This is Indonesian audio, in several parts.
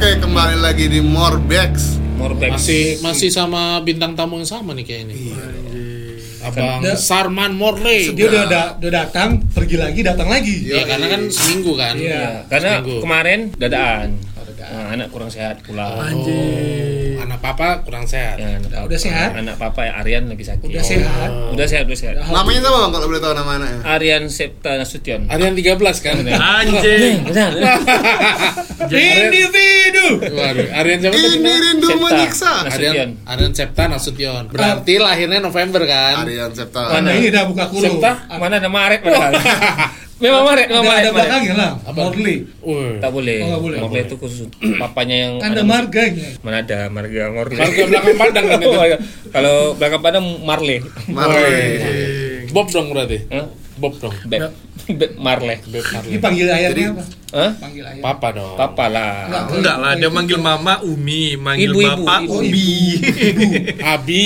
kembali lagi di Morbex. Morbex Masih masih sama bintang tamu yang sama nih kayak ini. Abang Dia- Sarman Morley. dia udah, da- udah datang pergi lagi datang lagi Iya, karena kan seminggu kan. Iya. Nah, karena Seminggu. kemarin dadaan. Nah, anak kurang sehat pulang. Anjir. Iya. Anak papa kurang sehat. Ya, anak Oh, udah papa. sehat? Anak papa ya Aryan lagi sakit. Oh. udah sehat Udah sehat, udah sehat. Namanya siapa bang kalau boleh tahu nama anaknya? Aryan Septa Nasution. Ada yang 13 kan? Anjing. individu Waduh, Aryan siapa tadi? Ini rindu Septa. menyiksa. Nah, Aryan, Aryan Septa Nasution. Berarti lahirnya November kan? Aryan Septa. nah, ini dah buka kulu Septa? Mana ada Maret padahal. Memang Maret, ada, memang Maret. ada Maret. belakangnya lah Apa? Morley Wih. Tak boleh. Oh, nggak boleh. Morley itu khusus papanya yang kan ada anak- marganya Mana ada marga Morley. Oh, iya. Marga belakang padang kan itu. Kalau belakang padang Marley. Marley. Bob dong berarti. Hah? Bob dong. Beb. Beb Marley. Beb Marley. dipanggil ayahnya apa Hah? panggil ayah Papa dong. Papa lah. Enggak lah, dia manggil mama Umi, manggil Ibu-ibu, bapak Oh, Oh, iya. ibu-ibu. Ubi. Abi.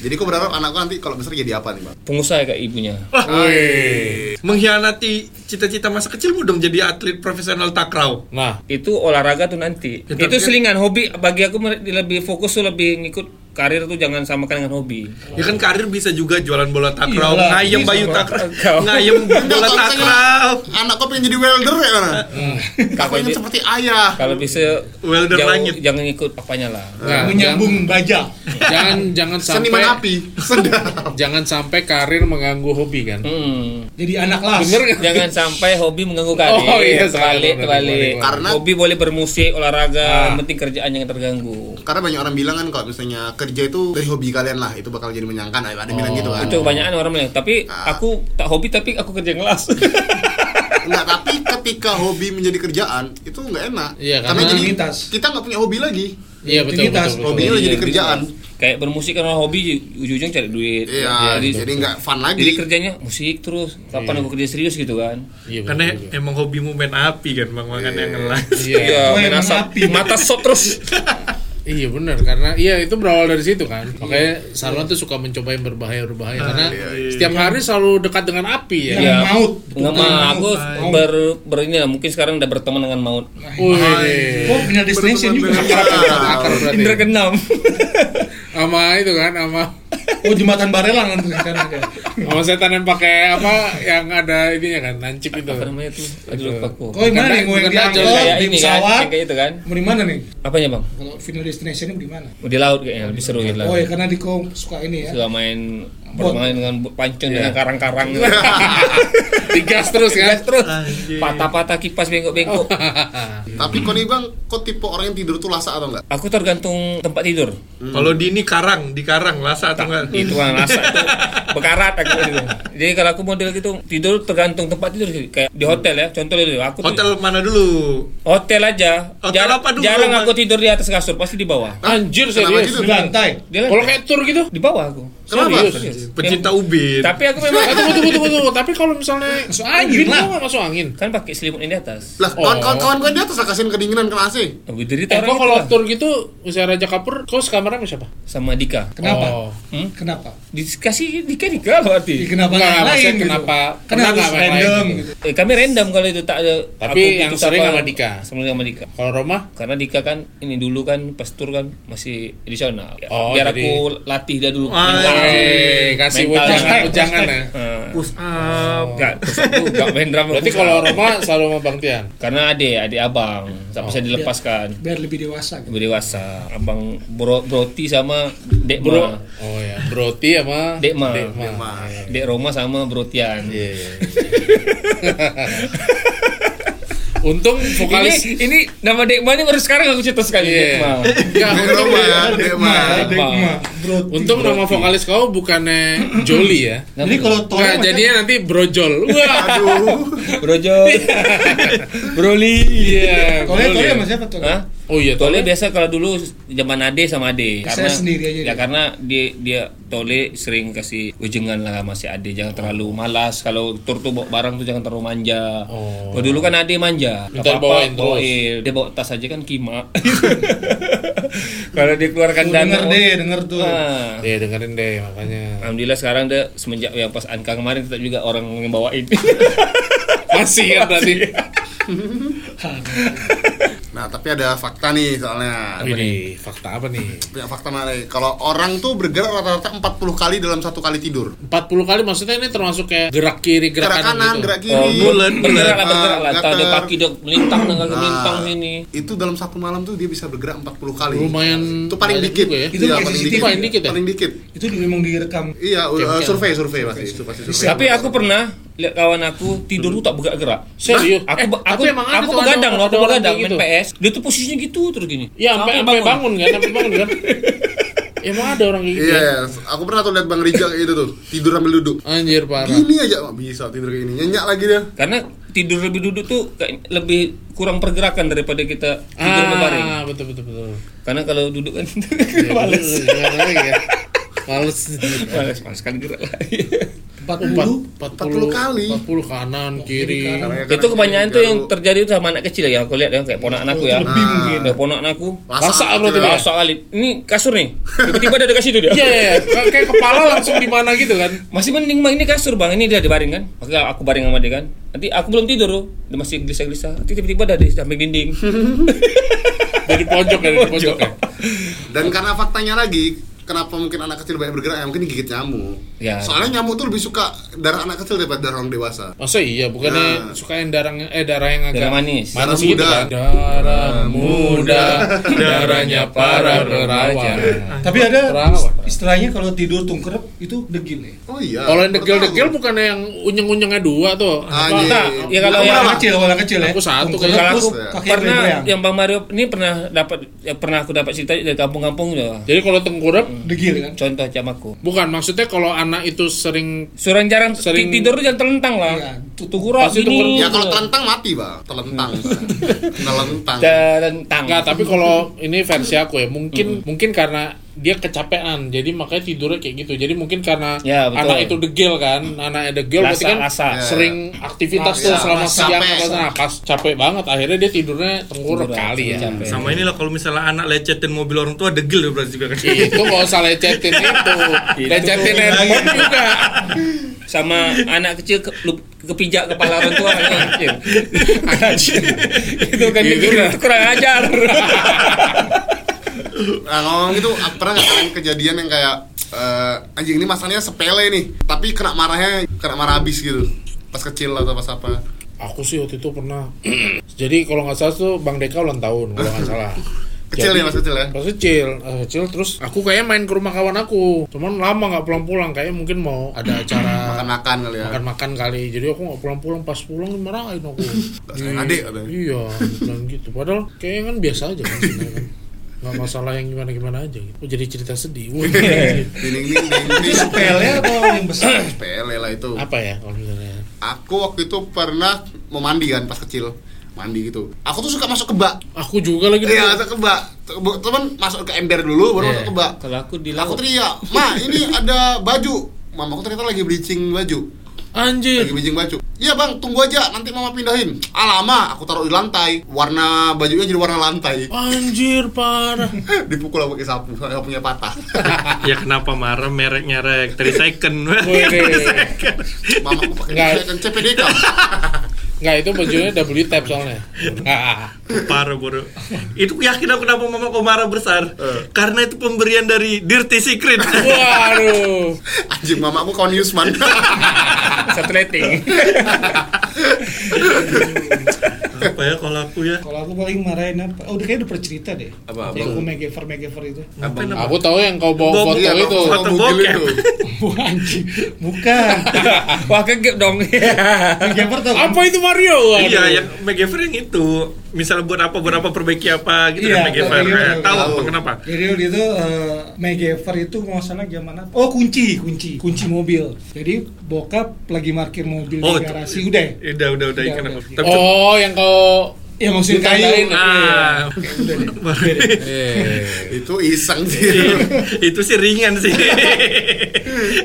Jadi kau berharap anakku nanti kalau besar jadi apa nih bang? Pengusaha kayak ibunya. Wih. Mengkhianati cita-cita masa kecilmu dong jadi atlet profesional takraw. Nah, itu olahraga tuh nanti Ya, tapi- itu selingan hobi bagi aku mer- lebih fokus tuh lebih ngikut karir tuh jangan samakan dengan hobi Ya kan karir bisa juga jualan bola takraw, Iyalah, ngayem bisa, bayu Bang. takraw, Iya, Takraw. Iya, ngayem bola Kalau misalnya takraw. Anak kau pengen jadi welder ya mana? Kau pengen Jadi- seperti ayah. kalau bisa Welder jauh- langit. jangan ikut apanya lah nah, jangan, menyambung baja jangan jangan sampai Seniman api. Sedap. jangan sampai karir mengganggu hobi kan. Hmm. Mm. jadi anak las Bener kan? jangan sampai hobi mengganggu karir Oh, iya, salah, terbalik benar, terbalik benar, benar. Karena- hobi boleh bermusik Ah. olahraga yang penting kerjaan jangan terganggu Karena banyak orang bilang kan kalau misalnya kerja itu dari hobi kalian lah itu bakal jadi menyenangkan. Ada yang bilang gitu kan? Oh, itu kebanyakan orang bilang tapi aku tak hobi tapi aku kerja ngelas Enggak, tapi ketika hobi menjadi kerjaan itu enggak enak. Iya, karena, karena jadi aktivitas. kita nggak punya hobi lagi. Iya betul Aktivitas, betul. betul. Hobinya Iya, jadi gitu. kerjaan. kayak bermusik karena hobi ujung-ujung cari duit Iya, jadi nggak fun lagi. gitu. jadi kerjanya musik terus kapan aku kerja serius gitu kan Iya, betul, Karena betul. emang hobimu main api kan, bang makan yang ngelas. Iya. Iya, Wah, main emang asap. api. Mata shot terus. Iya benar karena iya itu berawal dari situ kan. Makanya Sarwan tuh suka mencoba yang berbahaya berbahaya karena setiap hari selalu dekat dengan api ya. Iya. Maut. Nggak mau. Aku ber, ber ini lah, mungkin sekarang udah berteman dengan maut. Wih. oh punya destination juga Akar berarti. Indra kan- keenam. Sama itu kan sama oh jembatan barelang kan sekarang kayak. sama setan yang pakai apa yang ada ininya kan nancip itu. Apa namanya tuh? Aduh lupa aku. oh gimana nih gue yang Bukan di aja, angkot kayak di ini kan, pesawat yang kayak itu kan. mau di mana nih Apanya, Bang? kalau final destinationnya di mana Oh, Di laut kayaknya lebih seru gitu lah. oh ya karena di kau suka ini ya Suka main bermain dengan bu- pancung dengan karang-karang. Digas terus kan. terus. Patah-patah kipas bengkok-bengkok. Tapi kau nih bang, kau tipe orang yang tidur tuh lasa atau enggak? Aku tergantung tempat tidur. Kalau di ini karang, di karang lasa atau enggak? Hmm. Itu kan rasa itu bekarat aku gitu. Jadi kalau aku model gitu tidur tergantung tempat tidur sih. kayak di hotel ya. Contohnya dulu aku tuh- Hotel mana dulu? Hotel aja. Hotel jarang, apa dulu, jarang Bang? aku tidur di atas kasur, pasti di bawah. Anjir Kenapa serius. gitu? di lantai Dia Kalau kayak tur gitu. di bawah aku. Kenapa? Serius. Pecinta Yang- ubin. Tapi aku memang Eh, tunggu, tunggu, tunggu, tunggu. Tapi kalau misalnya masuk angin lah. masuk angin. kan pakai selimut ini di atas. Lah, Oh. kawan kawan kawan gue di atas lah kasihan kedinginan kena AC. Aku derita Eh, orang kok itu kalau lah. tur gitu, usaha Raja Kapur, kau sekamarnya sama siapa? sama Dika. kenapa Oh. Hmm? kenapa Dikasih Dika Dika loh Ya, arti. kenapa Enggak, nggak lain maksudnya gitu? kenapa- kan kenapa harus nggak lain random gitu? gitu. Eh, kami random kalau itu tak ada. Tapi yang gitu sering apa- sama Dika. Sering sama Dika. Kalau Roma? Karena Dika kan ini dulu kan pas tur kan masih edisional. Oh, Biar jadi- aku latih dia dulu. Ah, Mental. Eh, kasih Nah, Mental. ujangan-ujangan ya. Eh, push up. Oh. Enggak, terus aku enggak main drum. Oh. Berarti aku kalau enggak. Roma selalu sama Bang Tian. karena adik, adik abang, tak Oh. bisa dilepaskan. biar lebih dewasa gitu. Lebih dewasa, abang bro, broti sama dek Bro. bro, Oh ya, Broti sama Dekma. Dekma. dek Roma sama brotian. Iya. Untung Ini, vokalis ini nama Dekma ini baru sekarang aku cerita sekali Iya. Dekma. Enggak, Di untung- rumah ya, di rumah. Stigma, bro. Untung nama vokalis kau bukannya Joli ya. Jadi kalau tolong Nah, jadinya nanti Brojol. Wah. Aduh, Brojo, Broli. Iya. tolong Brojol. tolong sama siapa tolong? Hah? Oh iya, Tole Tole. biasa kalau dulu zaman Ade sama Ade Saya sendiri aja Ya dia. karena dia dia Tole sering kasih ujengan lah masih Ade jangan terlalu malas kalau tur tuh bawa barang tuh jangan terlalu manja. Oh. Kalau dulu kan Ade manja. Apa-apa Minta dibawain terus. bawain. Dia bawa tas aja kan kima. kalau dikeluarkan Tuh, dana. denger Oh, deh, denger tuh. Ah. Iya, dengerin deh makanya. Alhamdulillah sekarang dia semenjak yang pas Anka kemarin tetap juga orang yang kan bawain. Masih ya berarti. Nah, tapi ada fakta nih soalnya. Ini fakta apa nih? Punya fakta menarik. Kalau orang tuh bergerak rata-rata 40 kali dalam satu kali tidur. 40 kali maksudnya ini termasuk kayak gerak kiri, gerak, gitu. Gerak kanan, gerak kiri. Oh, bulan, bergerak lah, bulan. bergerak lah. Ah, Tahu dia gater. kaki dia melintang dengan melintang sini. Itu dalam satu malam tuh dia bisa bergerak 40 kali. Lumayan Itu paling banyak dikit. juga ya. Itu Itu paling CCTV dikit. paling dikit ya? Paling dikit. Itu memang direkam. Iya, uh, Oke, oke. survei, survei pasti. Itu pasti survei. Tapi aku pernah lihat kawan aku tidur tuh tak bergerak-gerak. Serius? Aku Eh, be- aku tapi emang ada aku tuh ada- begadang, loh, ada aku orang begadang kayak main gitu. PS. Dia tuh posisinya gitu terus gini. Iya, sampai sampai bangun kan, sampai bangun kan. Emang ada orang kayak gitu. ya? Iya, aku pernah tuh lihat Bang Rijal kayak gitu tuh, tidur sambil duduk. Anjir parah. Gini aja Wah, bisa tidur kayak ini. Nyenyak lagi dia. Karena tidur lebih duduk tuh kayak lebih kurang pergerakan daripada kita tidur berbaring. Ah, betul betul betul. Karena kalau duduk kan Iya, males. betul, betul. Gimana lagi ya? Males. males, males kan gerak lagi. Empat Empat- puluh. 40 kali. 40 kanan kiri. kanan. Karena- itu kebanyakan tuh yang karena- terjadi tuh sama anak kecil ya aku lihat ya kayak ponakan aku ya. Lebih mungkin. Ada ponakan aku. Lasak Lasak gitu berarti, ya. Bang. Lasak kali. Ini kasur nih. Tiba-tiba ada dekat situ dia. Iya, iya, iya. Kayak- kayak kepala langsung di mana gitu kan. Masih mending bang ini kasur bang ini dia dibaring kan. Oke aku baring sama dia kan. Nanti aku belum tidur loh. Dia masih gelisah-gelisah. Nanti tiba-tiba ada di samping dinding. Dari pojok ya, dari pojok. ya. Dan karena faktanya lagi, kenapa mungkin anak kecil banyak bergerak? Ya mungkin gigit nyamuk. Ya. Soalnya nyamuk tuh lebih suka darah anak kecil daripada darah orang dewasa. Masa iya, bukannya Nah. suka yang darah eh darah yang agak Darah manis. Darah gitu muda. kan? Darah muda, darahnya para perawan. Ah. Tapi ada Perawat. istilahnya kalau tidur tungkrep itu degil ya. Oh iya. Kalau yang baru degil-degil tahu. bukannya yang unyeng-unyengnya dua tuh. Anjing. Apa? Ya kalau Nah, Aku yang orang kecil, orang kecil ya. Aku satu Tungkrep, kayaknya. terus Kalau aku kaki pernah bereang. yang Bang Mario ini pernah dapat ya, pernah aku dapat cerita dari kampung-kampung ya. Jadi kalau tengkurap degil kan. Contoh camaku. bukan maksudnya kalau anak itu sering Suran jarang Sering- ti- tidur tuh jangan telentang lah. Iya. Tutuhura Pasti tungkurap. ini. Ya kalau telentang mati, Bang. Telentang. Bang. telentang. Ya. Telentang. enggak tapi kalau ini versi aku ya mungkin mungkin karena dia kecapean jadi makanya tidurnya kayak gitu jadi mungkin karena Ya, betul. anak itu degil kan anaknya degil berarti Lasak, kan lasak. sering aktivitas Lasak, tuh selama lasak, siang capek. atau napas capek banget akhirnya dia tidurnya tengkurap Tengkurap, kali ya capek. Sama inilah kalau misalnya anak lecetin mobil orang tua degil berarti juga kan. Iya. itu nggak usah lecetin itu lecetin Itu handphone juga sama anak kecil ke, lu- kepijak kepala orang tua anak kecil. itu kan Gitu dikira lah. itu kurang ajar. Nah, ngomong gitu, ap- pernah nggak kalian kejadian yang kayak eh, anjing ini masalahnya sepele nih, tapi kena marahnya, kena marah habis gitu. Pas kecil atau pas apa? aku sih waktu itu pernah jadi kalau nggak salah tuh bang Deka ulang tahun kalau nggak salah Kecil Jadi- ya, pas kecil ya. pas kecil pas kecil terus aku kayaknya main ke rumah kawan aku cuman lama nggak pulang-pulang kayaknya mungkin mau ada acara Makan-makan kali ya. makan-makan kali jadi aku nggak pulang-pulang pas pulang dimarahin aku Tak sayang adik, katanya. iya bilang gitu padahal kayaknya kan biasa aja kan sebenarnya kan nggak masalah yang gimana-gimana aja gitu oh, jadi cerita sedih gitu. Wah, Ding ding ding Itu ding. sepele atau yang besar? Sepele lah itu. apa ya kalau misalnya Aku waktu itu pernah mau mandi kan pas kecil mandi gitu. Aku tuh suka masuk ke bak. aku juga gitu lagi dulu. Iya, masuk ke bak. Teman masuk ke ember dulu baru Iya. masuk ke bak. Kalau aku di Aku laut teriak, "Ma, ini ada baju." Mamaku ternyata lagi bleaching baju. anjir Lagi bleaching baju. Iya, Bang, tunggu aja, nanti Mama pindahin. Alama, aku taruh di lantai. Warna bajunya jadi warna lantai. anjir parah Dipukul aku pakai sapu, soalnya punya patah. ya kenapa marah merek-merek 3 second. Wih. Mamaku Nggak. pakai kan CPDK. Nggak, itu bajunya double tap soalnya. Parah bodoh. Itu yakin aku kenapa mama kok marah besar? Eh. Karena itu pemberian dari Dirty Secret. Iya. Waduh. Anjing, mamaku kawan Yusman. sateliting. Apa ya kalau aku ya? Kalau aku paling marahin apa? Oh, udah kayaknya udah percerita deh. Apa, Yang aku megever megever itu. Ngapain apa? Aku tahu yang kau bawa foto Iya, itu. aku Foto bugil bokep. itu. Bukan anjing. Bukan. Wah kegep dong. Megever tau kan? Apa itu Mario? Waduh. Iya, yang MacGyver yang itu. Misalnya buat apa, buat apa, perbaiki apa gitu Iya, kan MacGyver. tahu, Eh, tahu, Tahu tahu. apa kenapa? Jadi waktu itu eh, Megaver itu kalau nggak salah zaman apa? Oh kunci, kunci, kunci mobil. Jadi bokap lagi markir mobil Oh, di garasi udah. ya? Udah, udah, udah, Udah, ikan aku. udah. iya. Tapi Oh, yang kau Ya maksudnya Ditandain, kayu. ah, Oke, udah deh. Itu iseng sih. Iya. itu sih ringan sih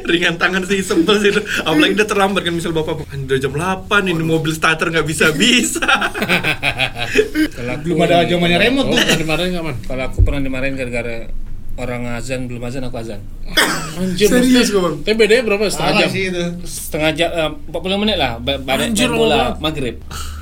ringan tangan sih sebel sih itu. apalagi dia terlambat kan misal bapak "Anjing, udah jam 8 ini mobil starter nggak bisa bisa Kalau aku- Belum ada zamannya remote Oh, tuh. kan dimarahin nggak man? Kalau aku pernah dimarahin gara-gara orang azan belum azan aku azan. Anjir, Serius maksudnya- gua, Bang. Tapi bedanya berapa? Setengah Parah jam. sih itu. Setengah jam eh, 40 menit lah ba- badan Anjir, main bola Allah. maghrib.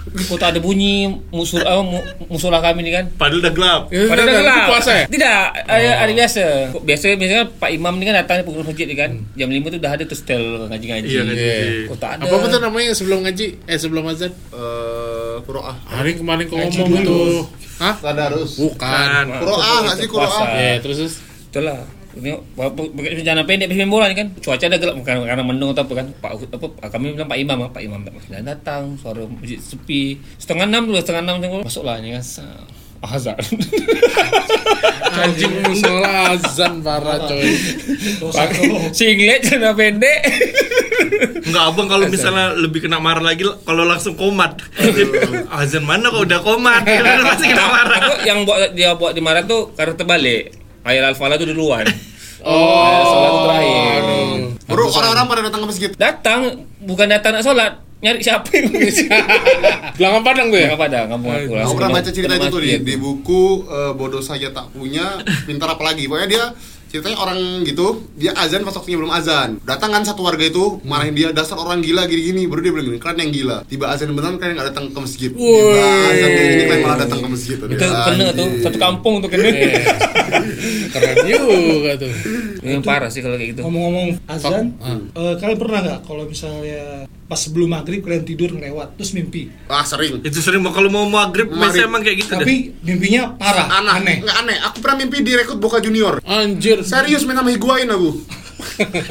Di kota ada bunyi musul apa mu- musola kami nih kan. Padahal udah gelap. Pada Padahal gelap. puasa ya? Tidak, ada, ada biasa. Biasanya biasanya Pak Imam ini kan datang pengurus masjid nih kan. Jam 5 tuh udah ada tuh setel ngaji-ngaji. Iya, ngaji. Kok tak ada. Apa tuh namanya sebelum ngaji? Eh sebelum azan? Eh, Kuroah. Hari kemarin kau Ngaji ngomong dulu. tuh. Hah? Tadarus. Kan. Bukan. Ah, Bukan. Kuroah nggak sih Kuroah? Ya, terus terus. Itulah. Ini pakai rencana pendek habis main bola nih kan. Cuaca ada gelap bukan karena mendung atau apa kan. Pak apa kami bilang Pak Imam, ah, Pak Imam tak makin datang, suara masjid sepi. Setengah enam dulu, setengah enam tengok masuklah ni kan. Sa- Azan. Anjing musola azan parah coy. dosa Pakai singlet celana pendek. Enggak abang kalau misalnya lebih kena marah lagi kalau langsung komat. Azan mana kok udah komat? Pasti kena marah. Aku yang buat dia buat di Marat tu karena terbalik. Ayat Al-Falah tu duluan. Oh, Solat tu terakhir. Bro, orang-orang pada datang ke masjid. Datang bukan datang nak solat, nyari siapa yang Belakang padang tuh ya? Kampung Padang, kampung aku Aku langsung pernah kena- baca cerita gitu, itu kena tuh di, maki di aku. buku eh, Bodoh Saja Tak Punya, Pintar Apalagi. Pokoknya dia ceritanya orang gitu, dia azan pas waktunya belum azan. Datang kan satu warga itu marahin dia dasar orang gila gini-gini. Baru dia bilang gini, kalian yang gila. Tiba azan beneran kalian nggak datang ke masjid. Tiba Woi. azan kayak gini kalian malah datang ke masjid. Iya. Itu kena tuh, satu kampung tuh kena. Eh, Keren juga tuh. Ini parah sih kalau kayak gitu. Ngomong-ngomong azan, Ah. eh, kalian pernah nggak kalau misalnya pas sebelum maghrib kalian tidur ngelewat terus mimpi, Ah sering. Itu sering mau- kalau mau maghrib Maghrib. biasanya emang kayak gitu deh. tapi mimpinya parah, Aneh, aneh. nggak aneh. Aku pernah mimpi direkrut Boca Junior. Anjir. Serius minta sama higuain aku.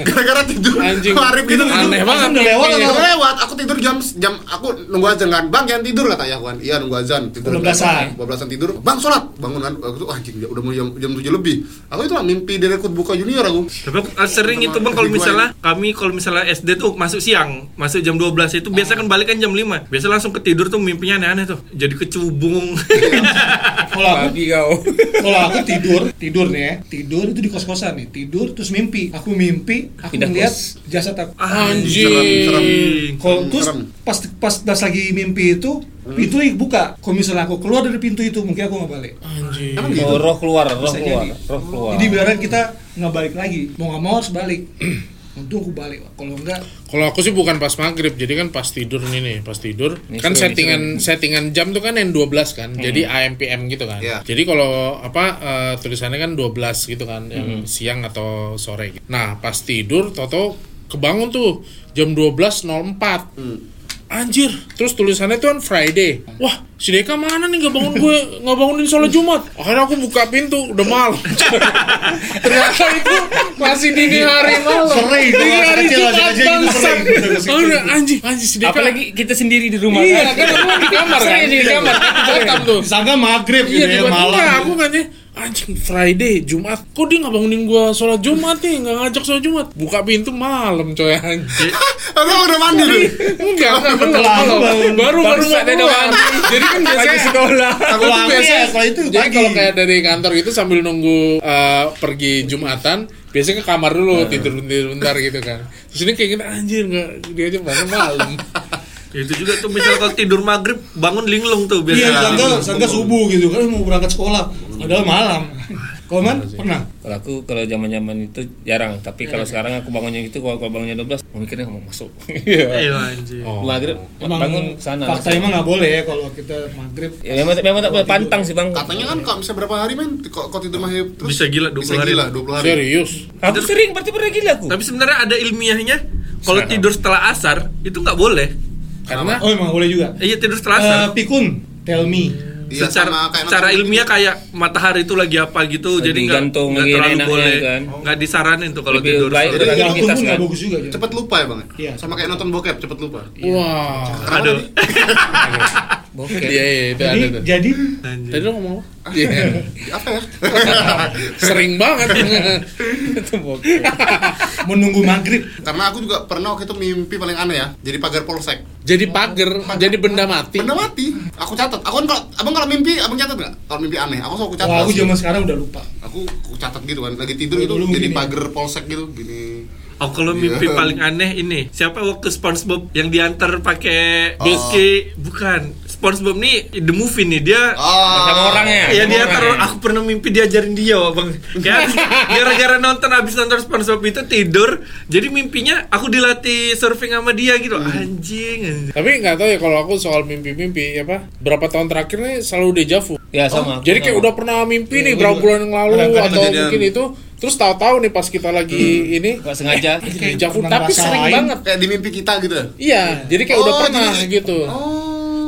Gara-gara tidur Anjing. Maghrib gitu tidur. Aneh banget. Azan udah lewat Aku atau lewat, aku tidur jam jam aku nunggu azan kan. Bang, jangan tidur kata ayah kan. Iya, nunggu azan. Tidur 12-an. 12-an tidur. Bang, sholat. Bangun kan. Aku tuh anjing udah mau jam, jam 7 lebih. Aku itu lah mimpi direkrut buka junior aku. Tapi aku- ah, sering itu bang kalau misalnya kami kalau misalnya SD tuh masuk siang, masuk jam 12 itu biasa kan balik kan jam 5. Biasa langsung ketidur tuh mimpinya aneh-aneh tuh. Jadi kecubung. Kalau aku Pagi kau. kalau aku tidur tidur nih ya tidur itu di kos kosan nih tidur terus mimpi aku mimpi aku Pindah melihat kos. jasad aku Anjing. kalau terus serem. pas pas das lagi mimpi itu pintu dibuka kalau misalnya aku keluar dari pintu itu mungkin aku nggak balik Anjir. Emang gitu. Oh, roh keluar, roh Bisa keluar, jadi. roh keluar. jadi beneran kita nggak balik lagi mau nggak mau harus balik untung aku balik kalau enggak Kalau aku sih bukan pas maghrib, jadi kan pas tidur nih nih, pas tidur. Ini kan seru, settingan settingan jam tuh kan yang 12 kan. Jadi AM PM gitu kan. Iya. Jadi kalau apa eh, tulisannya kan 12 gitu kan, yang siang atau sore gitu. Nah, pas tidur toto kebangun tuh jam 12.04. Anjir, terus tulisannya tuh kan Friday. Wah, si Deka mana nih nggak bangun gue nggak bangunin sholat Jumat. Akhirnya aku buka pintu udah malam. Ternyata itu masih dini hari malam. Sore itu, dini hari kecil aja Jumat kayak gitu, sore bangsat. itu. Oh, udah, anjing, anjing si Deka. Apalagi kita sendiri di rumah iya, kan aku di kamar kan. Sering di kamar. Batam tuh. sangka maghrib gitu ya, ya, Iya, tiba-tiba aku nanya anjing Friday Jumat kok dia nggak bangunin gua sholat Jumat nih nggak ngajak sholat Jumat buka pintu malam coy anjing Aku udah mandi tuh. Iya, enggak enggak belum belum. baru baru mau Bangsat, dia keluar doang. jadi kan biasanya sekolah. aku tuh biasanya setelah itu jadi pagi. kalau kayak dari kantor gitu sambil nunggu eh, pergi jumatan biasanya ke kamar dulu tidur tidur bentar gitu kan terus ini kayak gini anjir nggak dia aja bangun malam Itu juga tuh misalnya kalau tidur maghrib bangun linglung tuh biasa. iya sangka sangka subuh gitu kan mau berangkat sekolah padahal malam kau man pernah Kalau aku kalau zaman-zaman itu jarang, tapi kalau sekarang aku bangunnya gitu kalau kalau bangunnya 12, aku mikirnya mau masuk. Iya. Iya anjing. Maghrib Emang bangun ke sana. Fakta emang nggak boleh ya kalau kita maghrib. Ya, memang memang tak boleh pantang sih, Bang. Katanya kan kalau misalnya berapa hari men kok kok tidur mahir terus Bisa gila 20 bisa hari. gila 20 hari. serius Aku sering berarti pernah gila aku. Tapi sebenarnya ada ilmiahnya kalau Sekarang. tidur setelah asar itu nggak boleh. karena Oh emang boleh juga. Iya tidur setelah asar. Eh pikun, tell me. Iya, secara sama kayak secara matahari ilmiah kayak matahari itu lagi apa gitu Lagi jadi nggak gantung, nggak lagi terlalu enaknya boleh kan. nggak disaranin tuh kalau Lebih tidur baik sore. Itu kan Jadi aktivitas, waktu Iya, pun nggak kan? bagus juga. Jon. cepet lupa ya bang. Iya. Sama kayak nonton bokep cepet lupa. wah Kenapa Aduh. tadi? iya Bokeh. iya itu ada Jadi tuh. jadi Anjing. tadi lu ngomong apa? Iya. Apa ya? sering banget Itu bokeh. menunggu maghrib. Karena aku juga pernah waktu itu mimpi paling aneh ya. Jadi pagar polsek. jadi pagar jadi benda mati Benda mati. Aku catat. Aku kan kalau abang kalau mimpi abang catat nggak? Kalau mimpi aneh, aku selalu catat. Wah, aku zaman sekarang udah lupa. aku, aku catat gitu kan. Lagi tidur itu Dulu jadi gini. pagar polsek gitu gini. Oh kalau mimpi Iya. Ah. paling aneh ini siapa waktu SpongeBob yang diantar pakai ski bukan SpongeBob nih the movie nih dia Sama Ah, orangnya. ya sama dia orangnya. taruh aku pernah mimpi diajarin dia bang ya gara-gara nonton abis nonton SpongeBob itu tidur jadi mimpinya aku dilatih surfing sama dia gitu Hmm. anjing anjing. Tapi nggak tahu ya kalau aku soal mimpi-mimpi apa berapa tahun terakhir nih selalu deja vu. Ya sama. Oh. Jadi kayak Sama. udah pernah mimpi nih Iya, berapa iya. bulan yang lalu Kadang-kadang atau kejadian. mungkin itu terus tahu-tahu nih pas kita lagi ini nggak sengaja. kayak deja vu pernah tapi ngerasain. sering banget. kayak di mimpi kita gitu. Iya, jadi kayak Oh, udah pernah jadi- oh. gitu.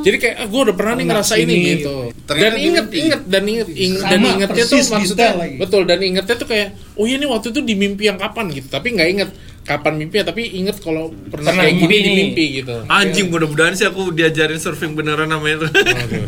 Jadi kayak ah, gue udah pernah nih Pernah ngerasain ini sini. gitu. Ternyata dan di inget mimpi. inget dan inget ing- Sama, dan ingetnya tuh persis maksudnya detail lagi. betul dan ingetnya tuh kayak oh iya nih waktu itu di mimpi yang kapan gitu tapi nggak inget kapan mimpinya tapi inget kalau pernah, Pernah kayak mimpi gini di nih. mimpi gitu. anjing Iya. mudah-mudahan sih aku diajarin surfing beneran sama itu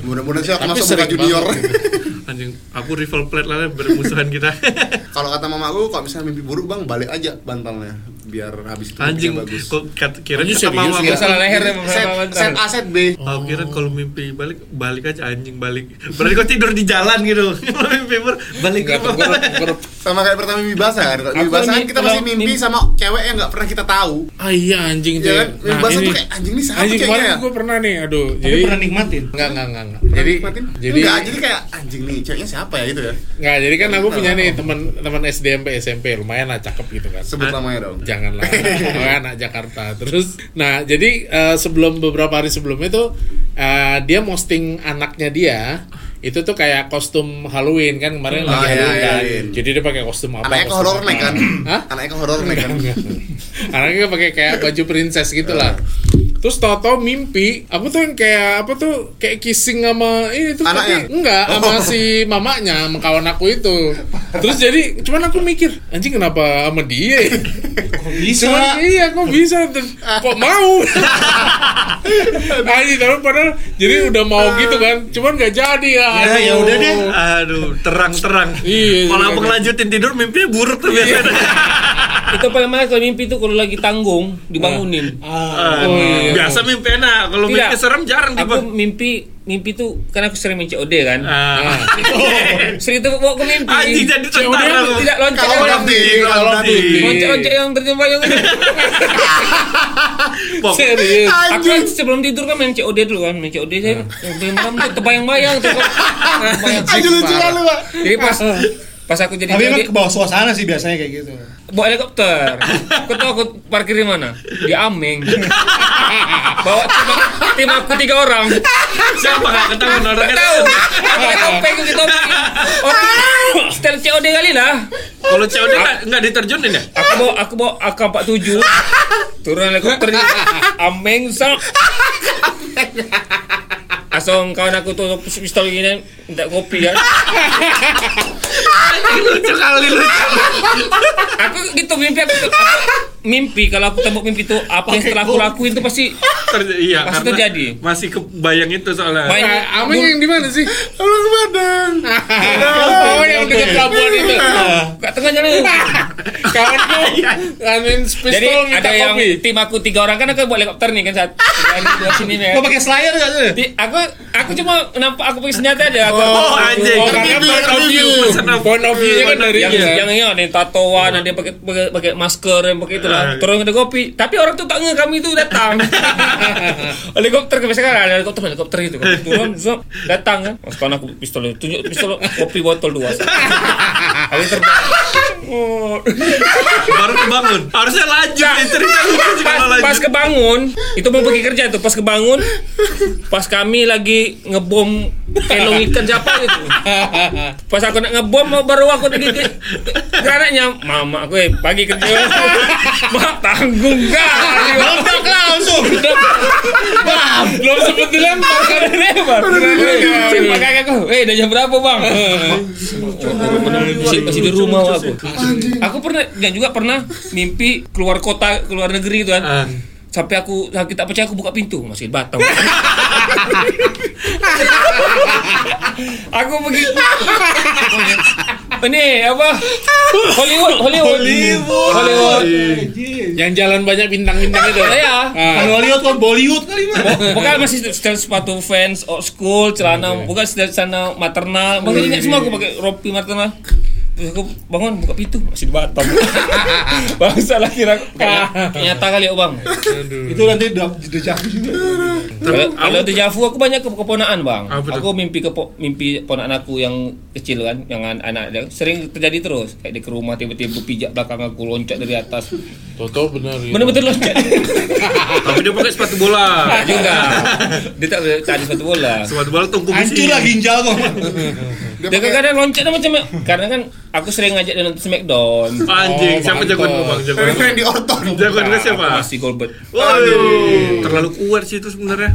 Mudah-mudahan sih aku Tapi masuk sering Boca junior. banget gitu. anjing aku rival plate lah bermusuhan kita kalau kata mama aku, kalau misalnya mimpi buruk bang, balik aja bantalnya biar habis itu anjing mimpinya bagus. kok kat- kira Anjing kata serius mama ya? aku Salah leher ya, set, Bang. set A, set B. Oh. Aku kira kalau mimpi balik balik aja anjing balik. Berarti kau tidur di jalan gitu. Kalau mimpi ber balik ke Nggak tahu, gua- gua- Sama kayak pertama mimpi basah kan. Kalau mimpi Aku basah kan mimpi- kita pasti kalau mimpi mimpi- sama cewek yang nggak pernah kita tahu. Ah iya anjing Iya kan? tuh. Bahasa tuh kayak, anjing nih sama Anjing kayaknya kemarin ya. gue pernah nih, aduh. Tapi jadi pernah nikmatin. enggak enggak enggak. enggak. Pernah Jadi nikmatin? jadi Nggak, jadi kayak anjing nih ceweknya siapa ya gitu ya. enggak jadi kan aku punya nih teman teman SMP SMP lumayan lah cakep gitu kan. Sebut namanya dong. Janganlah anak, anak Jakarta. Terus nah jadi eh, sebelum beberapa hari sebelumnya tuh eh, dia posting anaknya dia itu tuh kayak kostum Halloween kan kemarin Oh, lagi iya, Halloween kan. iya, iya. Jadi dia pakai kostum apa? Anaknya ke kostum horor apa. nih kan. Hah? Anaknya ke horor nih kan. Anaknya pakai kayak baju princess gitu lah. Terus tau-tau mimpi, aku tuh yang kayak apa tuh kayak kissing sama ini tuh Anaknya? tapi enggak sama Oh. si mamanya, sama kawan aku itu. Terus jadi cuman aku mikir, anjing kenapa sama dia? ya?" Kok bisa? Cuman iya kok bisa Terus, kok mau? Anjing tapi padahal jadi udah mau gitu kan, cuman nggak jadi ya. Ya ya aduh. udah deh. Aduh, terang-terang. Oh. Iya, Kalau iya, abang iya. lanjutin tidur mimpinya buruk tuh biasanya. Itu paling malas kalau mimpi itu kalau lagi tanggung dibangunin. Ah, Aduh, oh iya. Biasa mimpi enak. Kalau Tidak. mimpi serem jarang Ah. tiba. Aku mimpi mimpi tuh kan aku sering main COD kan. Iya. Ah. Sering tuh bawa ke mimpi. Anjing jadi COD tentara. yang lu. tidak loncat Kalau yang nanti, kalau Kalau nanti. nanti. loncat-loncat yang terjebak yang Pok. Serius. Aku Anjing. kan sebelum tidur kan main COD dulu kan, main COD saya main malam tuh terbayang-bayang tuh. kok. Terbayang. Anjing lucu lalu, Pak. Jadi pas pas aku jadi Tapi emang COD ke bawah suasana sih biasanya kayak gitu. bawa helikopter. Kau tahu aku parkir di mana? Di Ameng. bawa tim, tim aku tiga orang. Siapa nggak ketahuan orangnya? Tahu? Aku topeng gitu topeng. Orang setel COD kali lah. Kalau Ah. COD nggak nggak diterjunin ya? Aku bawa aku bawa AK47 turun helikopter di Ameng sok. Asong kawan aku tuh pistol gini minta kopi kan. Anjing, Lucu kali lucu. Aku gitu mimpi aku, aku mimpi kalau aku tembok mimpi itu apa yang setelah aku lakuin itu pasti Terj- iya, Pasti karena terjadi. Masih kebayang itu soalnya. Bayang- Ah, Ameng yang di mana sih? Orang Padang. Oh yang dekat pelabuhan itu. gak tengah jalan. Kawanku Iya. ngamen Jadi pistol minta ada yang kopi. tim aku tiga orang kan aku buat helikopter nih kan saat dua sini kan? nih. Kok pakai slayer enggak tuh? Di- aku aku cuma nampak aku pakai senjata aja aku. Oh anjing, Oh, Tapi karena dia point of ngerti view. tuh, pesan apa. Point of view-nya kan dari yang dia. yang ini ada yang tatoan, ada yang pakai pakai, pakai masker, yang pakai itulah. Ah. Terus ada kopi. Tapi orang tuh tak ngeh kami itu datang. helikopter kebiasaan kan ada helikopter helikopter gitu. Kami turun, zop, datang kan. Mas kawan aku pistol tunjuk pistol kopi botol dua. Kami terbang. Oh. baru kebangun. Harusnya lanjut nih cerita lucu sih pas, kalau pas lanjut. kebangun itu mau pergi kerja tuh pas kebangun pas kami lagi ngebom kelong ikan siapa gitu pas aku nak ngebom baru aku udah gitu granatnya mama aku eh pagi kerja mak tanggung gak meledak langsung belum sempet dilempar kan karena lebar sempat kakak aku eh udah jam berapa bang masih, masih di rumah aku aku pernah dan juga pernah mimpi keluar kota keluar negeri gitu kan Ah. sampai aku lagi tak percaya aku buka pintu masih di Batam aku pergi ini apa Hollywood Hollywood Hollywood, Yang jalan banyak bintang-bintang itu. Saya. Ah. Iya. Kalau lihat kan Bollywood kali mah. bukan masih setel sepatu fans old school celana bukan setel celana maternal makanya semua aku pakai rompi maternal Terus aku bangun buka pintu masih di Batam. Bangsa lah kira kayaknya nyata kali ya bang. Itu nanti da- dejavu juga. Kalau kalau di Javu aku banyak ke keponaan bang. Ah, Apa tuh? Aku mimpi ke mimpi ponakan aku yang kecil kan, yang an- anak dia sering terjadi terus. Kayak dia ke rumah tiba-tiba pijak belakang aku loncat dari atas. Toto bener. ya. Bener-bener loncat. Tapi dia pakai sepatu Ah, bola. iya Tak juga. Dia tak tak ada satu bola. Sepatu bola tungku Hancur lah ginjal kok. Dia Dia pakai- kadang-kadang loncatnya macam karena kan aku sering ngajak dia nonton Smackdown. Oh, Anjing, siapa mantap. jagoan lu, Bang? Jagoan. Dari Randy Orton. Jagoannya Ah, siapa? Masih Goldberg. Waduh, terlalu kuat sih itu sebenarnya.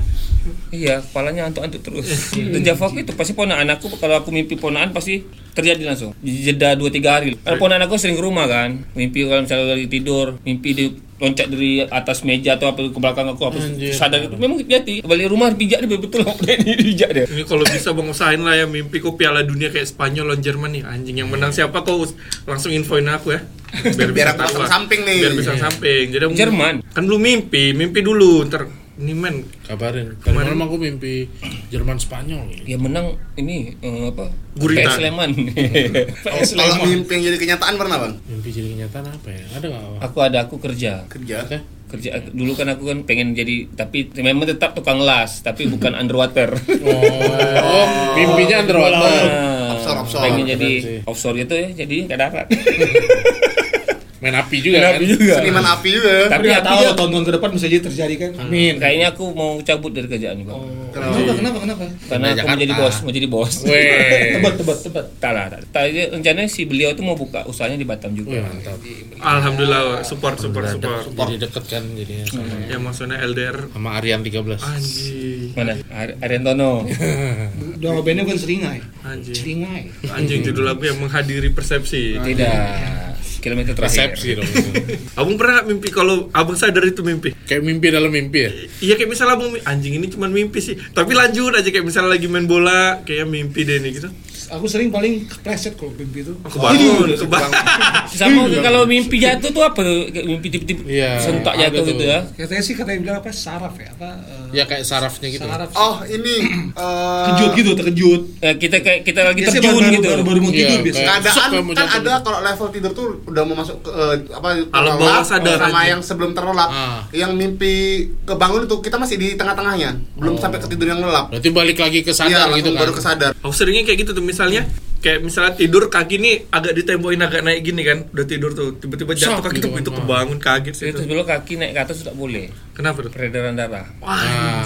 Iya, kepalanya antuk-antuk terus. Dan Java aku itu pasti ponaan aku kalau aku mimpi ponaan pasti terjadi langsung. Jeda 2 3 hari. Kalau ponaan aku sering ke rumah kan. Mimpi kalau misalnya lagi tidur, mimpi dia loncat dari atas meja atau apa ke belakang aku aku Anjir. sadar itu memang jadi balik rumah pijak dia betul dia pijak dia Ini kalau bisa Bang usahain lah ya mimpi kok Piala Dunia kayak Spanyol lawan Jerman nih anjing yang menang siapa kok us- langsung infoin aku ya. Biar, Biar bisa aku tahu pasang lah. samping nih. Biar bisa samping. Jadi aku- Jerman. Kan belum mimpi, mimpi dulu ntar ini men Kabarin. Kemarin malam aku mimpi Jerman Spanyol. dia Ya menang ini eh, apa Gurita. PS Sleman PS Kalau Sleman mimpi yang jadi kenyataan pernah bang? Mimpi jadi kenyataan apa ya? Ada nggak? Wak? aku ada aku kerja Kerja. Ada? kerja dulu kan aku kan pengen jadi tapi memang tetap tukang las tapi bukan underwater Oh, mimpinya underwater. Nah, Offshore, offshore. pengen Keren jadi sih. offshore gitu ya jadi nggak darat Main api juga kan? Seniman api juga. tapi nggak tahu Tapi ya tahun-tahun ke depan bisa jadi terjadi kan. Amin. kayaknya aku mau cabut dari kerjaan ini bang Kenapa? Kenapa kenapa? karena Pindah aku mau Oh. Jakarta. jadi bos mau jadi bos Weh. Tebet tebet tebet. tak lah tak- tadi rencananya si beliau tuh mau buka usahanya di Batam Wih, juga mantap. alhamdulillah support support support. Jadi deket kan jadinya sama, Ya maksudnya LDR sama Aryan 13. anjing. mana Ar- Arentono Udah bandnya bukan seringai. Anjing. Seringai. Anjing judul lagu yang menghadiri persepsi. tidak kilometer terakhir Persepsi dong. Abang pernah nggak mimpi kalau abang sadar itu mimpi? Kayak mimpi dalam mimpi ya? Iya kayak misalnya abang mi- anjing ini cuma mimpi sih. Tapi lanjut aja kayak misalnya lagi main bola, kayak mimpi deh nih gitu. Oh, Aku sering paling kepleset kalau mimpi itu. Iya, Kebangun, kebangun. sama kalau mimpi jatuh tuh apa tuh? Kayak mimpi tiba-tiba Iya, sentak ada jatuh tuh. gitu ya Katanya sih katanya bilang apa saraf ya apa eh, Ya kayak sarafnya gitu. saraf. Oh ini. eh, Terkejut gitu terkejut. Eh, kita kayak kita lagi Biasanya terjun baru, gitu baru, baru mau Iya, tidur kayak- biasanya. keadaan Suka mau kan jatuh. ada kalau level tidur tuh udah mau masuk ke eh, apa Alam terlelap bawah sadar sama aja. yang sebelum terlelap Ah. yang mimpi kebangun tuh kita masih di tengah-tengahnya belum sampai ke tidur yang lelap Berarti balik lagi ke iya sadar gitu langsung kan? baru kesadar Aku seringnya kayak gitu tuh misalnya kayak misalnya tidur kaki nih agak ditempoin agak naik gini kan udah tidur tuh tiba-tiba jatuh Shock kaki gitu tuh kan, Iya, itu Bang. kebangun kaget sih itu itu. dulu kaki naik ke atas tuh tak boleh kenapa tuh peredaran darah Hmm. wah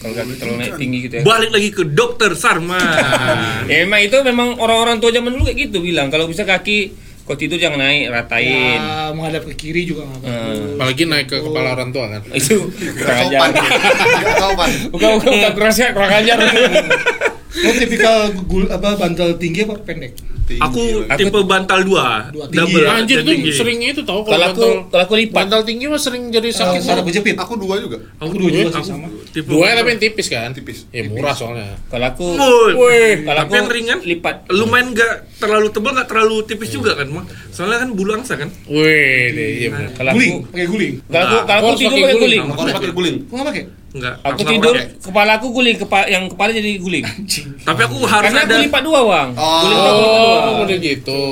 kalau kaki terlalu naik tinggi gitu ya balik lagi ke dokter Sarma ya memang itu memang orang-orang tua zaman dulu kayak gitu bilang kalau bisa kaki kau tidur jangan naik ratain Ya, menghadap ke kiri juga nggak apa-apa. Eh, Apalagi naik Oh. ke kepala orang tua kan? itu kurang ajar sopan Nggak sopan bukan bukan bukan kurang sehat, kurang ajar Lo Oh, tipikal gul, apa bantal tinggi apa pendek? Aku- aku tipe bantal dua Dua tinggi. double Iya, Anjir dan tuh tinggi. sering itu tau kalau kalau aku bantal, kalau aku lipat bantal tinggi mah sering jadi Sakit sakit. Eh, saraf kejepit. aku dua juga aku dua juga aku sih sama. tipe Dua tapi bantal- yang tipis kan? Tipis. Ya murah soalnya. kalau aku Full. kalau tapi aku yang ringan lipat lumayan gak terlalu tebal gak terlalu tipis juga kan mak soalnya kan bulu angsa kan Wih, deh, iya bener. kalau aku Guling, pakai guling. kalau aku Nah, kalau aku harus tidur pakai pakai guling. guling kalau pakai guling Kok nggak pakai? Enggak, aku nggak tidur pakai. kepala aku guling kepa- yang kepala jadi guling Tapi aku harus karena ada aku lipat dua bang Oh. guling aku lipat dua Oh, udah gitu.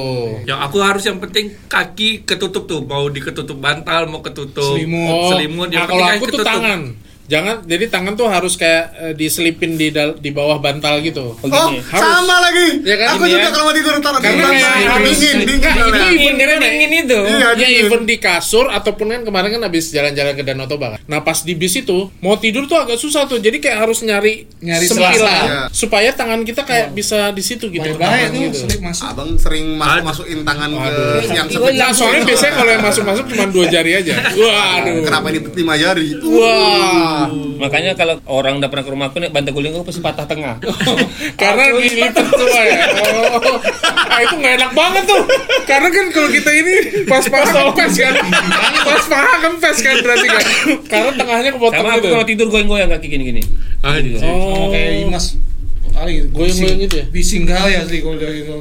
yang aku harus yang penting kaki ketutup tuh, mau diketutup bantal, mau ketutup Selimut. Oh, selimut. nah, Yang kalau penting aku kaki tuh ketutup. tangan. Hmm. Jangan, jadi tangan tuh harus kayak eh, diselipin di dal- di bawah bantal oh gitu. begini harus. sama lagi Ya kan, aku gini juga ya. kalau mau tidur taruh di Karena bantal. kayak harus- dingin dingin Nah, soalnya. ini- Dingin, karena dingin itu Iya, Ya dingin. even di kasur ataupun kan kemarin kan habis jalan-jalan ke Danau Toba kan. Nah pas di bis itu mau tidur tuh agak susah tuh. Jadi kayak harus nyari Nyari selasa. Iya. sempilan supaya tangan kita kayak bisa di situ gitu. Tangan Bahaya tuh gitu. selip masuk. abang sering masuk masukin tangan Aduh. ke yang Sakti sebelah banyak. Nah, soalnya biasanya kalau yang masuk-masuk cuma dua jari aja. Waduh. Nah, kenapa ini lima jari Wah. Makanya kalau orang udah pernah ke rumahku naik bantal guling aku pasti patah tengah. Karena Aku dilipat semua ya. Oh. Ah, itu nggak enak banget tuh. Karena kan kalau kita ini pas pas kempes kan. Pas paha kempes kan berarti kan. Karena tengahnya kepotong Sama aku gitu. Ah, iya kalau tidur goyang-goyang kaki gini-gini. Anjing. Sama kayak Imas. kali Goyang-goyang gitu ya? bising kali asli kalau dari itu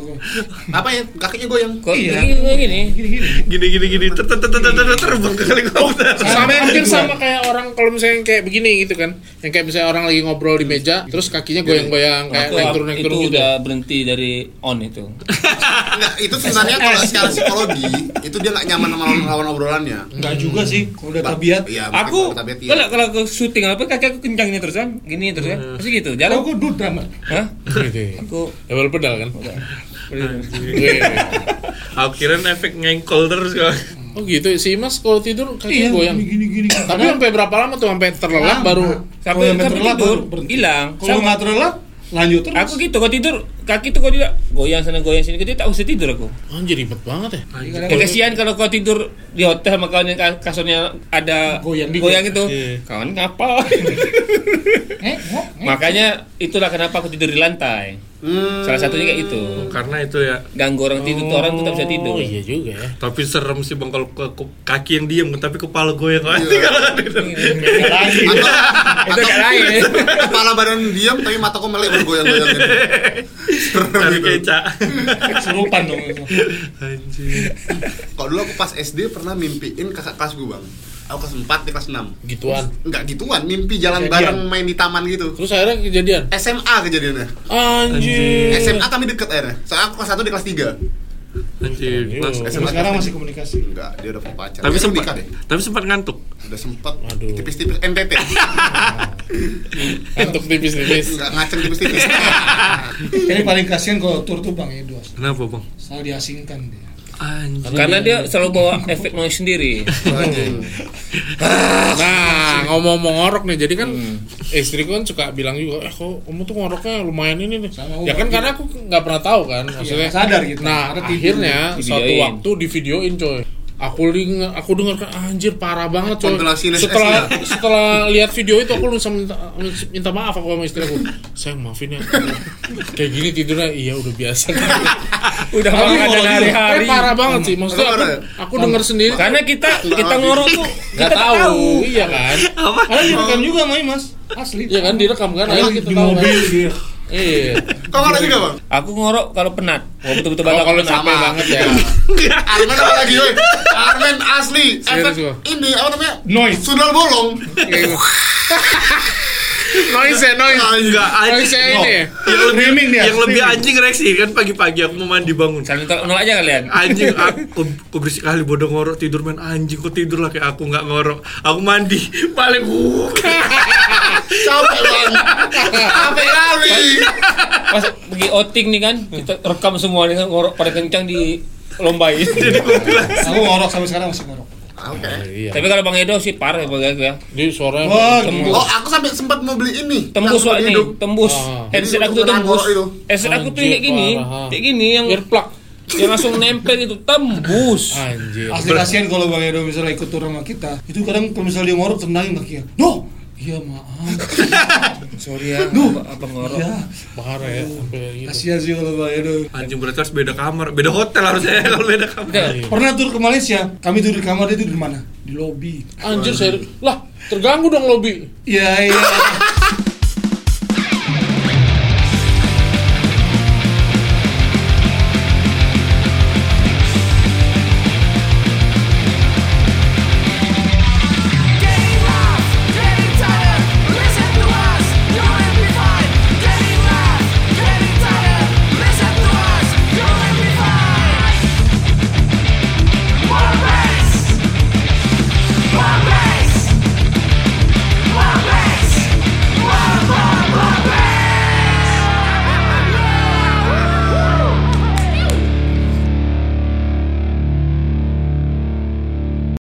Apa ya? Kakinya goyang. Kok Iya. gini gini? gini gini Gini gini gini ter ter ter ter ter ter- terbang ke helikopter. sama Ada hampir dua. sama kayak orang kalau misalnya yang kayak begini gitu kan yang kayak misalnya orang lagi ngobrol di meja terus kakinya goyang-goyang kayak Iya, Aku naik turun naik itu turun gitu udah berhenti dari on itu. Nah, itu sebenarnya kalau secara psikologi itu dia nggak nyaman sama lawan- lawan obrolannya. nggak juga sih kalau udah Ba- tabiat Iya, mungkin aku kalau tabiat iya. kalau kalau aku syuting apa kaki aku kencang ini terus kan, gini terus kan, Hmm. pasti gitu. kalau Jalan gue duduk drama Hah? gitu ya. Aku double pedal kan Iya, Aku kira efek ngengkol terus kok. oh gitu si Mas kalau tidur kakinya Iya, Iya. goyang Iya, gini gini gini tapi sampai berapa lama tuh sampai terlelap baru Kalau sampai yang sampai terlelap tidur baru berhenti. hilang. kalau Sama. nggak terlelap lanjut terus Aku gitu kalau tidur kaki tuh kalau tidak goyang sana goyang sini gitu tak usah tidur aku. anjir ribet banget ya Jadi Ya kadang- kasihan kalau kau tidur di hotel sama kawan yang ka- kasurnya ada Goyang dikit. goyang itu. Iya. Kawan ngapa? Eh, eh, eh. Makanya itulah kenapa aku tidur di lantai. Hmm. Salah satunya kayak itu. Karena itu ya. Ganggu orang tidur tuh orang tuh tak bisa tidur. oh iya juga ya Tapi serem sih bang kalau ke- ke- kaki yang diem tapi kepala goyang Nanti kalau Iya, tidur. Lagi. Atau, Iya. Itu gak lain. atau kepala badan diam tapi mata kok melek bergoyang-goyang gitu. Serem Dari gitu. kecak. kesurupan dong itu. Anjir. Kalau dulu aku pas SD pernah mimpiin kakak kelas gue bang. Aku kelas 4 di kelas 6 gituan Enggak gituan, mimpi jalan Kejadian. bareng main di taman gitu. terus akhirnya kejadian SMA kejadiannya. Iya. anjir SMA kami deket akhirnya. Soalnya aku kelas 1 di kelas 3 Anjir. Mas. Aduh. Sampai eh, sekarang masih komunikasi Enggak, dia udah punya pacar. Tapi Dia udah sempat nikah deh. tapi sempat ngantuk. Udah sempat Waduh. tipis-tipis NTT. untuk tipis-tipis Enggak ngaceng tipis-tipis. ini paling kasihan kalau tur tuh bang Edwas Kenapa bang? selalu diasingkan dia Anjir. Karena dia selalu bawa efek noise sendiri. Anjing. Nah, ngomong-ngomong ngorok nih, jadi kan Hmm. istriku kan suka bilang juga, eh kok kamu tuh ngoroknya lumayan ini nih. Sama ya kan Umar, iya. karena aku nggak pernah tahu kan, Iya. maksudnya. nggak sadar gitu. Nah, Ada tidur. akhirnya Videoin. suatu waktu di videoin coy. Aku denger, aku dengar kan anjir parah banget coy. Kompilasi NSS Setelah -nya. setelah lihat video itu aku langsung minta, minta maaf aku sama istri aku. Sayang maafin ya. Kayak gini tidurnya iya udah biasa. Udah Tapi makan kalau dia- hari-hari. eh, parah banget sih. Maksudnya aku, Parah ya? aku dengar sendiri Karena kita kita habis. ngorok tuh kita nggak tahu. Iya kan? ada direkam juga main mas asli Iya kan direkam kan Karena akhirnya kita di tahu kan. mobil dia Iya. Kok nggak juga bang? Aku ngorok kalau penat. Kalau betul-betul Kalau banget kalau penat. capek banget ya. Armen apa lagi woi? Armen asli. Efek Serius, gua. ini apa namanya? Noise. Sundal bolong. Noise ya, noise. Enggak Noise ya anjing. Iya. ini. ya. Yang Streaming lebih, dia, yang lebih streaming. anjing reaksi kan pagi-pagi aku mau mandi bangun. Saling tolak nolak aja kalian. anjing aku aku berisik kali bodoh ngorok tidur main anjing kok tidur lah kayak aku nggak ngorok aku mandi paling uh Capek bang. Capek kali. Pas pergi outing nih kan, kita rekam semua nih ngorok pada kencang di lombai. aku ngorok sampai sekarang masih ngorok Oke. Iya. Tapi kalau Bang Edo sih parah ya Bang Edo ya. Jadi suaranya Wah, tembus. Oh aku sampai sempat mau beli ini. Yang Tembus buat wak ini, hidung. tembus. Ah. Headset Ini aku tuh beneran tembus. ngorok itu. Headset aku tuh Anjir, kayak gini, parah. kayak gini yang Earplug. yang langsung nempel itu tembus. Anjir. asli kasihan kalau bang Edo misalnya ikut tur sama kita itu kadang kalau misalnya dia ngorok tendangin kakinya no iya maaf Sorry ya, apa, apa ngorok. ya Parah ya. sampai gitu. kasihan sih kalau bang Edo anjing berarti harus beda kamar beda hotel harusnya kalau beda kamar Udah, pernah tur ke Malaysia kami tur di kamar dia tidur di mana di lobi Anjir saya lah terganggu dong lobi. Iya iya.